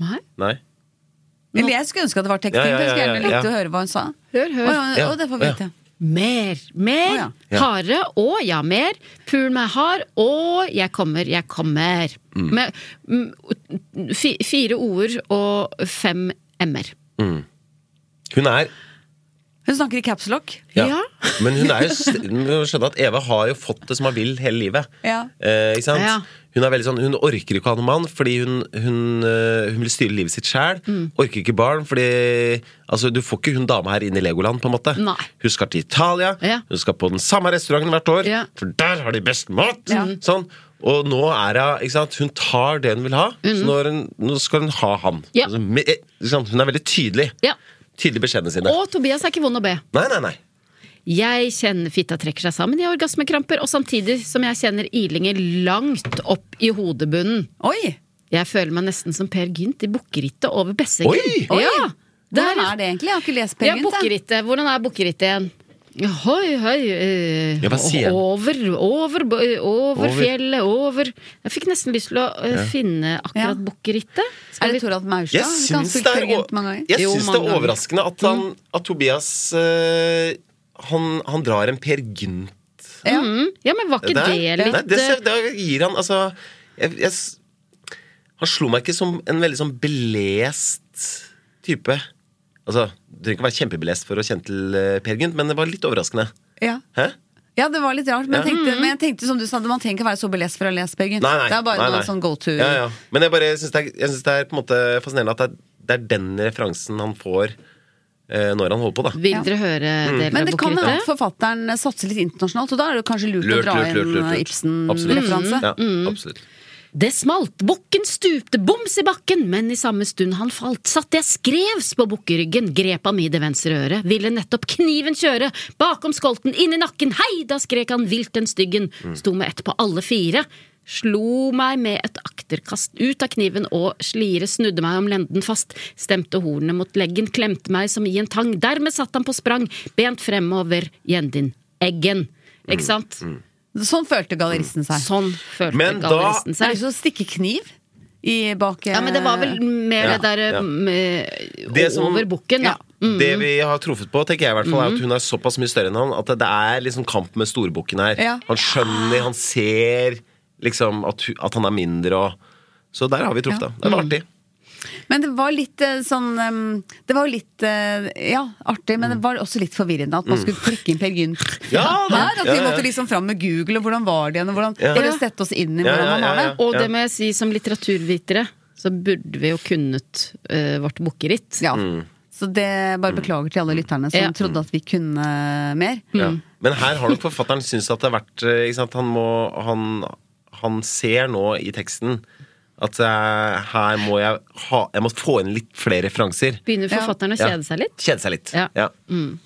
S1: Nei.
S3: Nei?
S2: Eller jeg skulle ønske at det var teksting,
S3: Ja, ja,
S2: for jeg skulle
S3: ja,
S2: gjerne
S3: ja, ja.
S2: likt å høre hva hun sa.
S1: Hør, hør.
S2: Å, ja,
S3: Ja.
S2: å, det får vi vite.
S1: Mer, mer,
S2: Å, ja.
S3: Ja.
S1: hardere, og ja, mer. Pul meg hard, og jeg kommer, jeg kommer. Med mm, fi, fire ord og fem m-er.
S3: Hun er
S2: Hun snakker i capslock.
S3: ja.
S1: Ja.
S3: Men hun er jo st- du må skjønne at Eva har jo fått det som hun vil hele livet.
S2: Ja.
S3: Eh, ikke sant?
S1: Ja.
S3: Hun er veldig sånn, hun orker ikke å ha noen mann fordi hun, hun, eh, hun vil styre livet sitt sjæl.
S1: Mm.
S3: Orker ikke barn fordi altså, Du får ikke hun dama her inn i Legoland, på en måte.
S1: Nei.
S3: Hun skal til Italia,
S1: Ja.
S3: hun skal på den samme restauranten hvert år,
S1: Ja.
S3: for der har de best mat! Sånn. Og nå er hun ikke sant? Hun tar det hun vil ha, så nå, er hun, nå skal hun ha han.
S1: Mm. Ja.
S3: Altså, med, eh, ikke sant? Hun er veldig tydelig.
S1: Ja.
S3: Tydelig i beskjedene sine.
S1: Og Tobias er ikke vond å be.
S3: Nei, nei, nei.
S1: Jeg kjenner fitta trekker seg sammen i orgasmekramper, og samtidig som jeg kjenner ilinger langt opp i hodebunnen.
S2: Oi!
S1: Jeg føler meg nesten som Per Gynt i Bukkerittet over Besseggen.
S3: Oi! Oi!
S1: Ja,
S2: Hvordan er det egentlig? Jeg har ikke lest Per
S1: ja,
S2: Gynt, jeg.
S1: Bukkerittet. Hvordan er Bukkerittet igjen? Hoi, hoi eh,
S3: Ja, hva sier han?
S1: over, over, bo- eh, over,
S3: Over.
S1: fjellet, over Jeg fikk nesten lyst til å eh,
S3: Ja.
S1: finne akkurat Bukkerittet.
S2: Er det Toralf Maurstad?
S3: Jeg
S2: Har ikke han
S3: syns
S2: spilt
S3: det er,
S2: Per Gynt
S3: o-
S2: mange ganger?
S3: jeg
S1: Jo,
S3: syns det
S1: mange
S3: er
S1: ganger.
S3: overraskende at, han, at Tobias eh, han, han drar en Per Gynt
S2: Ja.
S1: Mm, ja, men var ikke
S3: der.
S1: det litt
S3: Nei, det, ser-
S1: eh,
S3: da gir han altså jeg, jeg, s- Han slo meg ikke som en veldig sånn belest type. Altså, Du trenger ikke være kjempebelest for å kjenne til eh, Per Gynt, men det var litt overraskende.
S2: Ja.
S3: Hæ?
S2: ja, det var litt rart. Men,
S3: Ja.
S2: jeg
S1: Mm.
S2: tenkte, men jeg tenkte som du sa, man trenger ikke være så belest for å ha lest Per Gynt.
S3: Nei, nei.
S2: Det er bare
S3: nei, nei.
S2: noe sånn go to.
S3: Ja, ja. Men jeg bare syns det, er- jeg synes det er på en måte fascinerende at det er, det er den referansen han får eh, når han holder på, da.
S1: Vil dere høre
S3: Mm.
S1: deler
S2: Men
S1: av
S2: det kan hende at
S1: Bukkerittet?
S2: forfatteren satser litt internasjonalt, og da er det kanskje lurt, å
S3: Lurt,
S2: dra
S3: lurt, lurt, lurt, Mm,
S2: inn Mm.
S3: lurt.
S2: Ibsen-referanse.
S3: Ja, absolutt.
S1: Det smalt, bukken stupte boms i bakken, men i samme stund han falt, satt jeg skrevs på bukkeryggen, grep ham i det venstre øret, ville nettopp kniven kjøre, bakom skolten, inn i nakken, hei, da skrek han vilt den styggen, sto med ett på alle fire, slo meg med et akterkast ut av kniven og slire snudde meg om lenden fast, stemte hornet mot leggen, klemte meg som i en tang, dermed satt han på sprang, bent fremover, gjendin, eggen,
S3: Mm,
S1: ikke sant?
S2: Sånn følte galleristen seg.
S1: Sånn følte
S3: Men da-
S1: galleristen
S2: Det er
S1: seg.
S2: jo som å stikke kniv i bak
S1: Ja, men det var vel mer
S3: Ja,
S1: det derre
S3: ja.
S1: med-
S3: Det som-
S1: over bukken, da.
S2: Mm.
S3: Det vi har truffet på, tenker jeg i hvert fall, er at hun er såpass mye større enn han at det er liksom kamp med storbukken her.
S2: Ja.
S3: Han skjønner, han ser liksom at, hu- at han er mindre og Så der har vi truffet, da. Det var artig.
S2: Mm. Men det var litt eh, sånn ehm, Det var jo litt eh, ja, artig, men det
S3: Mm.
S2: var også litt forvirrende at man skulle klikke inn Per Gynt
S3: Ja, da.
S2: her. At
S3: Mm. Ja,
S2: vi
S3: ja.
S2: måtte liksom fram med Google, og hvordan var det igjen, og hvordan
S3: Ja.
S2: Bare sette oss inn i
S3: Ja,
S2: hvordan
S3: ja,
S2: man
S3: ja,
S2: har det.
S3: ja.
S1: Og det må jeg si, som litteraturvitere, så burde vi jo kunnet eh, vårt bukkeritt.
S2: Ja.
S3: Mm.
S2: Så det bare beklager til alle lytterne som
S1: Ja.
S2: trodde at vi kunne mer.
S3: Ja. Men her har nok forfatteren syntes at det har vært eh, ikke sant? Han, må, han, han ser nå i teksten at eh, her må jeg ha Jeg må få inn litt flere referanser.
S1: Begynner forfatteren å
S3: Ja.
S1: kjede seg litt?
S3: Kjede seg litt.
S1: Ja.
S3: Ja.
S2: Mm.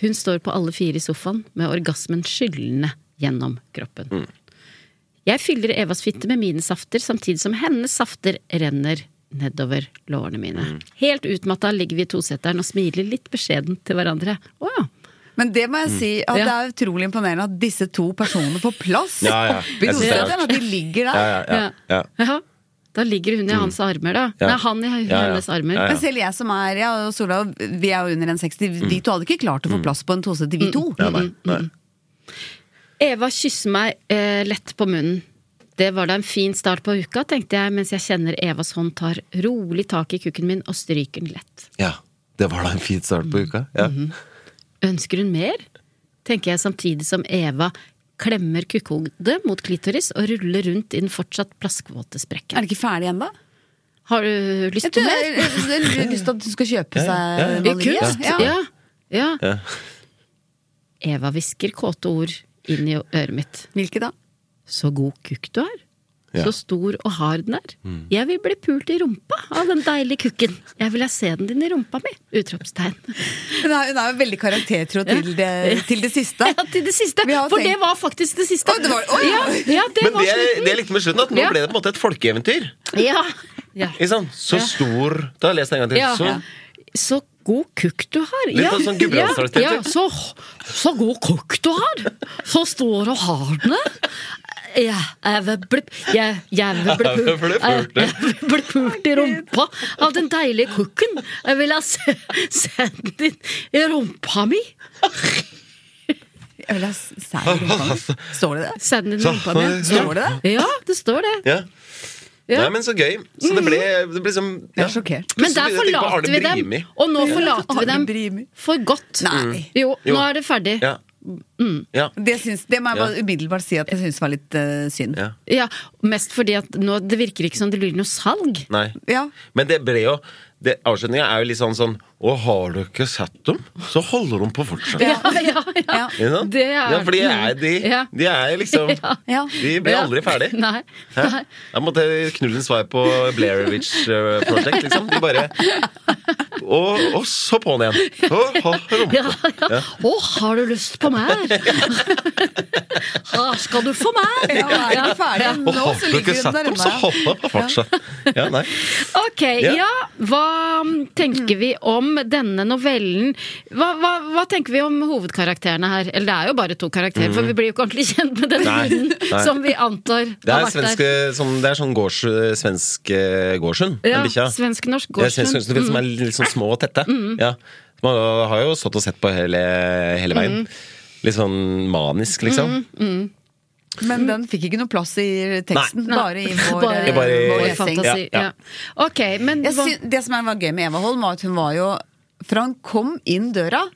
S1: Hun står på alle fire i sofaen med orgasmen skyllende gjennom kroppen.
S3: Mm.
S1: Jeg fyller Evas fitte med mine safter, samtidig som hennes safter renner nedover lårene mine.
S3: Mm.
S1: Helt utmatta ligger vi i toseteren og smiler litt beskjedent til hverandre. Å ja.
S2: Men det må jeg
S3: Mm.
S2: si at
S1: Ja.
S2: det er utrolig imponerende at disse to personene får plass
S3: Ja, ja.
S2: oppi
S3: Jeg synes det er
S2: doseteren.
S3: rart.
S2: At de ligger der.
S3: Ja, ja, ja, ja.
S1: Jaha. Da ligger hun i hans armer, da.
S3: Ja.
S1: Nei, han i hennes
S3: Ja, ja.
S1: armer.
S3: Ja,
S2: Men selv jeg som er ja, og Sola, vi er jo under 1,60. De to hadde ikke klart å få plass på en tosete, vi to.
S3: Mm. Ja,
S1: Mm,
S3: nei, nei.
S1: Eva kysser meg eh, lett på munnen. Det var da en fin start på uka, tenkte jeg, mens jeg kjenner Evas hånd tar rolig tak i kukken min og stryker den lett.
S3: Ja, det var da en fin start på uka. Ja.
S1: Ønsker hun mer? tenker jeg samtidig som Eva klemmer kukkhodet mot klitoris og ruller rundt i den fortsatt plaskvåte sprekken.
S2: Er det ikke ferdig ennå?
S1: Har du lyst
S2: Jeg
S1: på
S2: tror jeg, jeg,
S1: mer?
S2: har lyst til at du skal kjøpe seg
S3: ja, ja.
S1: I
S2: maleri.
S1: kunst?
S2: Ja.
S1: Ja. ja. Eva hvisker kåte ord inn i øret mitt.
S2: Hvilke da?
S1: Så god kukk du er.
S3: Ja.
S1: Så stor og hard den er.
S2: Mm.
S1: Jeg vil bli pult i rumpa av den deilige kukken. Jeg vil ha sæden din i rumpa mi! Utropstegn.
S2: Hun er, hun er jo veldig karaktertro til det, til det siste.
S1: Ja, til det siste!
S2: Vi har
S1: For
S2: tenkt-
S1: det var faktisk det siste.
S2: Å, det var- å,
S1: ja.
S2: ja.
S1: Ja, det
S3: Men
S1: var
S3: det, det jeg
S1: slutten.
S3: likte med slutten, at nå
S1: Ja.
S3: ble det på en måte et folkeeventyr.
S1: Ja. Ja.
S3: Ikke sant? Så stor Da har jeg lest det en gang til.
S1: Ja.
S3: Så,
S1: Så god kukk du har.
S3: Litt av sånn Gudbrandsdalsdialekt.
S1: ja, så, så god kukk du har! Så stor og hard den er. Jeg, jeg vil bli jeg, jeg vil bli
S3: Jeg vil bli
S1: pult jeg,
S3: pult, ja.
S1: jeg vil bli pult i rumpa av den deilige kukken. Jeg vil ha se- sæden din i rumpa mi.
S2: Jeg vil ha sær
S3: Altså.
S2: i rumpa mi. Står det det?
S1: Sæden din i rumpa mi.
S2: Står det det?
S1: Ja, det står det.
S3: Ja.
S1: Ja. Mm.
S3: Nei, men så gøy. Så det ble, det ble som
S2: Jeg er sjokkert.
S1: Men
S3: Så
S1: der
S3: begynner jeg å tenke på
S1: forlater vi
S3: Arne
S1: dem.
S3: Brimi.
S1: Og nå forlater vi
S2: Arne
S1: dem
S2: Brimi.
S1: for godt.
S2: Nei.
S1: Jo,
S3: Jo.
S1: nå er det ferdig.
S3: Ja.
S1: Mm.
S3: Ja.
S2: Det, syns, det må jeg bare umiddelbart si at jeg syns var litt eh, synd.
S3: Ja.
S1: Ja, Mest fordi at nå, det virker ikke som det blir noe salg.
S3: Nei.
S2: Ja.
S3: Men det ble jo det, Avslutninga er jo litt sånn sånn Og har du ikke sett dem, så holder de på fortsatt.
S1: Ja, ja, ja.
S3: Ikke sant?
S1: Det er
S3: ja, for de er, de,
S1: Ja.
S3: de er liksom
S1: Ja.
S3: De blir
S1: Ja.
S3: aldri ferdig.
S1: Nei.
S3: Hæ? Jeg måtte knulle en svai på Blairwich Project, liksom. De bare Og, og så på'n igjen. Og, og, rumpa.
S1: Ja, ja.
S3: Ja.
S1: Å, har du lyst på mer? Ha, skal du få mer?
S2: Ja, er ikke ferdig
S3: og har du ikke sett dem, så holder de på fortsatt. Ja, nei.
S1: Ok,
S3: Ja.
S1: ja. Hva tenker vi om denne novellen? Hva, hva, hva tenker vi om hovedkarakterene her? Eller det er jo bare to karakterer, for vi blir jo ikke ordentlig kjent med denne
S3: Mm. Nei,
S1: hunden
S3: nei.
S1: som vi antar
S3: Det
S1: har
S3: er,
S1: vært
S3: svenske,
S1: der.
S3: sånn, det er sånn gårds, svensk eh, gårdshund.
S1: Ja,
S3: den bikkja.
S1: svensk-norsk
S3: Ja,
S1: gårdshund.
S3: svensk gårdshund, du vet, Som er litt sånn små og tette. Ja. Man har jo stått og sett på hele, hele veien. Litt sånn manisk, liksom.
S2: Men den fikk ikke noe plass i teksten.
S1: Nei.
S2: Bare i vår,
S1: Bare-
S2: eh,
S3: Bare i-
S2: vår
S3: Vår
S2: lesing.
S1: fantasi. Ja,
S3: Ja, ja.
S1: Ok, men
S2: Jeg
S1: hva-
S2: sy- det som var gøy med Eva Holm, var at hun var jo fra hun kom inn døra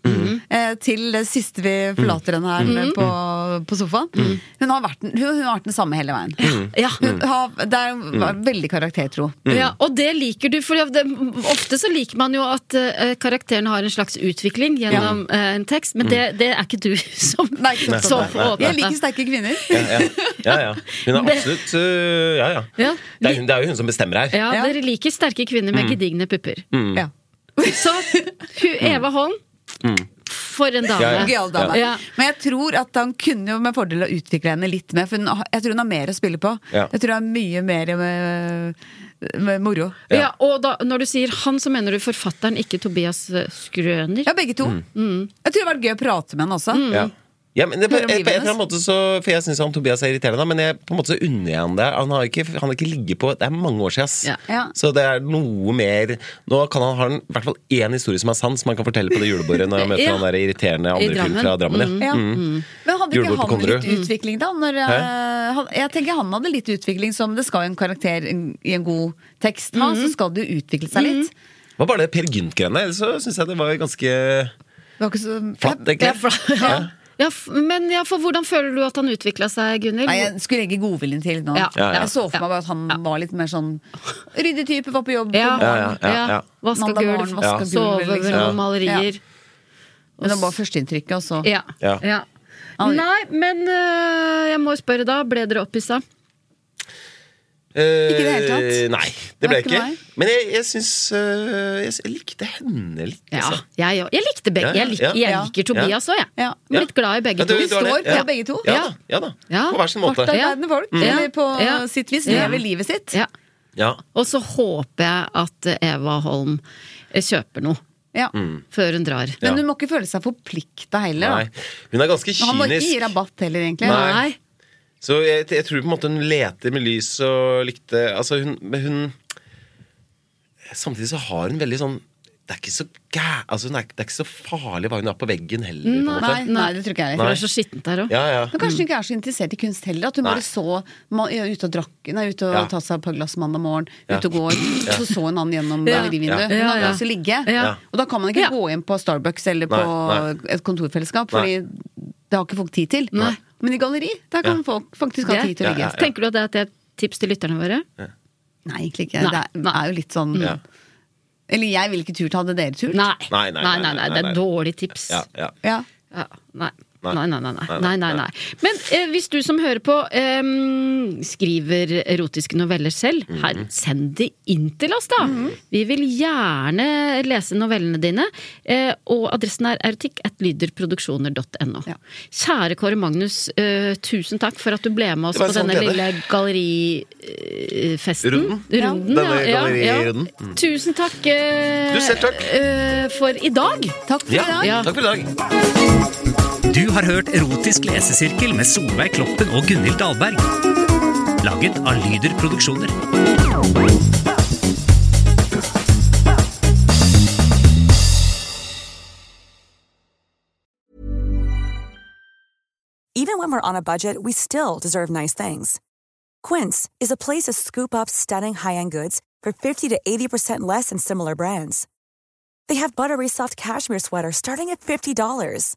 S2: eh, til det siste vi forlater henne her eh, på, på sofaen hun, har vært, den- hun, hun har vært den samme hele veien.
S1: ja.
S2: Hun har, det er, var veldig karaktertro.
S1: Ja, og det liker du, for det, ofte så liker man jo at eh, karakteren har en slags utvikling gjennom eh, en tekst, men det, det er ikke du som
S2: Nei, ikke sant.
S1: som
S3: Nei, nei, nei.
S2: Jeg
S1: får dette.
S2: liker sterke kvinner.
S3: Ja, ja. ja, ja. Hun er absolutt eh, Ja, ja.
S1: Ja,
S3: Det er, hun- det er jo hun som bestemmer her.
S1: ja,
S2: Ja.
S1: dere liker sterke kvinner med gedigne pupper.
S2: Ja.
S1: Så hu, Eva Holm, for en dame.
S3: Ja,
S2: Gøyal dame.
S1: Ja.
S2: Men jeg tror at han kunne jo med fordel ha utvikla henne litt mer, for hun, har- jeg tror hun har mer å spille på.
S3: Ja.
S2: Jeg tror det er mye mer med, med moro.
S1: Ja. og da, når du sier han, så mener du forfatteren, ikke Tobias eh, Skrøner?
S2: Ja, begge to.
S3: Mm.
S2: Jeg tror det har vært gøy å prate med henne også.
S3: Ja. Ja, men det, på,
S2: Mm. Hører om
S3: på,
S2: livet
S3: på en eller
S2: hennes.
S3: annen måte så, for jeg syns Tobias er irriterende, men jeg, på en måte så unner jeg han det. Han har ikke, han har ikke ligget på Det er mange år siden. ass.
S1: Ja.
S2: Ja.
S3: Så det er noe mer Nå kan han ha en, i hvert fall én historie som er sann, som han kan fortelle på det julebordet når han møter
S1: Ja.
S3: han der irriterende
S1: I
S3: andre fyren
S1: Drammen.
S3: fra Drammen. Ja.
S2: Ja. Mm. Men hadde ikke
S3: Mm. Julebord på
S2: han litt
S3: Konnerud.
S2: utvikling, da? Når, eh, han, jeg tenker han hadde litt utvikling, som det skal jo en karakter en- i en god tekst ha, så skal det jo utvikle seg litt.
S3: Hva var det Per Gynt-greiene? Ellers så syns jeg det var ganske eh,
S2: Det var ikke så
S3: flatt,
S2: Jeg-
S3: egentlig.
S2: jeg- flatt.
S1: Ja. Ja, f- men ja, for hvordan føler du at han utvikla seg, Gunhild?
S2: Nei, jeg skulle legge godviljen til nå.
S1: Ja. Ja,
S3: ja.
S2: Jeg så for meg bare at han var litt mer sånn ryddig type, var på jobb.
S1: Ja,
S2: på
S1: ja,
S2: morgenen.
S3: ja, ja, ja.
S1: Vaska
S2: Mandag morgen,
S1: gulv,
S2: vaska gulv,
S1: sove
S2: liksom.
S1: over
S2: Ja.
S1: noen malerier.
S2: Men det var førsteinntrykket, og så
S1: Ja.
S3: Ja.
S1: ja. Nei, men øh, jeg må jo spørre da. Ble dere opphissa?
S3: Ikke
S2: i det hele tatt?
S3: Nei, det ble
S2: Nei,
S3: jeg
S2: ikke
S3: ikke.
S2: meg.
S3: Men jeg, jeg syns eh, jeg, s- jeg likte henne litt.
S1: Ja,
S3: altså.
S1: jeg, òg. jeg likte begge.
S3: Ja, ja,
S1: Jeg liker, jeg
S2: ja.
S1: liker Tobias òg, jeg.
S2: Ja.
S1: Jeg er Blitt glad i begge
S3: Ja, du-
S1: to.
S3: du har det.
S2: Står på
S3: Ja.
S2: begge to.
S3: Ja, da, ja da.
S1: Ja.
S3: På hver sin måte.
S2: Hardt arbeidende folk,
S1: Ja. Mm.
S2: eller på
S1: Ja.
S2: sitt vis,
S1: Ja.
S2: lever livet sitt.
S1: Ja.
S3: Ja.
S1: Og så håper jeg at Eva Holm eh, kjøper noe
S2: Ja.
S1: før hun drar.
S2: Men hun må ikke føle seg forplikta heller. da.
S3: Mm. Nei. Hun er ganske
S2: Men Han må ikke gi
S3: kynisk.
S2: rabatt heller, egentlig.
S3: Nei. Så jeg, jeg tror på en måte hun leter med lys og lykte Altså hun, men hun Samtidig så har hun veldig sånn Det er ikke så gæ... Altså hun er, det er ikke så farlig hva hun har på veggen heller. På en måte.
S2: Nei, nei, det tror ikke jeg
S1: eh, For
S2: heller.
S1: det er så skittent der òg.
S3: Ja, ja.
S2: Men kanskje hun ikke er så interessert i kunst heller. At hun
S3: Nei.
S2: bare så man, ja, ute og drakk Nei, ute og
S3: Ja.
S2: tatt seg et par glass mandag morgen,
S3: Ja.
S2: ute og går, så så hun han gjennom
S1: Ja.
S2: gallerivinduet.
S1: Ja.
S2: Hun
S1: Ja,
S2: hadde
S1: ja.
S2: lyst til å ligge.
S1: Ja.
S2: Og da kan man ikke
S1: Ja.
S2: gå inn på Starbucks eller på
S3: Nei,
S2: et kontorfellesskap, fordi det har ikke folk tid til.
S1: Nei.
S2: Men i galleri, der kan
S3: Ja.
S2: folk faktisk ha tid til å ligge.
S1: Tenker du at det er et tips til lytterne våre?
S2: Nei, egentlig ikke.
S1: Nei.
S2: Det er,
S1: Nei.
S2: er jo litt sånn
S3: Ja.
S2: Eller jeg ville ikke turt. Hadde dere turt?
S1: Nei. Nei,
S3: Nei, nei,
S1: nei,
S3: nei,
S1: nei.
S3: nei,
S1: Det
S3: nei.
S1: er dårlig tips.
S3: Ja, ja.
S2: Ja.
S1: Ja, nei.
S3: Nei.
S1: Nei. Nei, nei, nei.
S3: Nei,
S1: nei,
S3: nei,
S1: nei, nei. Men eh, hvis du som hører på ehm, skriver erotiske noveller selv,
S3: Mhm.
S1: her, send de inn til oss, da! Vi vil gjerne lese novellene dine. Eh, og adressen er erotikk.lyderproduksjoner.no.
S2: Ja.
S1: Kjære Kåre Magnus, eh, tusen takk for at du ble med oss
S3: Det var
S1: på
S3: en sann
S1: denne
S3: glede.
S1: lille gallerifesten.
S3: Runden.
S1: Runden,
S3: Denne
S1: ja, ja,
S3: gallerirunden.
S1: ja. Tusen takk, eh,
S3: Du, selv takk.
S1: eh, for i dag.
S2: Takk for
S3: Ja,
S2: i dag.
S1: Ja.
S3: Takk for i dag.
S4: Du har hørt Erotisk lesesirkel med Solveig Kloppen og Gunhild Dahlberg. Laget av Lyder Produksjoner.
S6: Even when we're on a budget, we still deserve nice things. Quince is a place to scoop up stunning high-end goods for 50 to 80% less than similar brands. They have buttery soft cashmere sweaters starting at $50,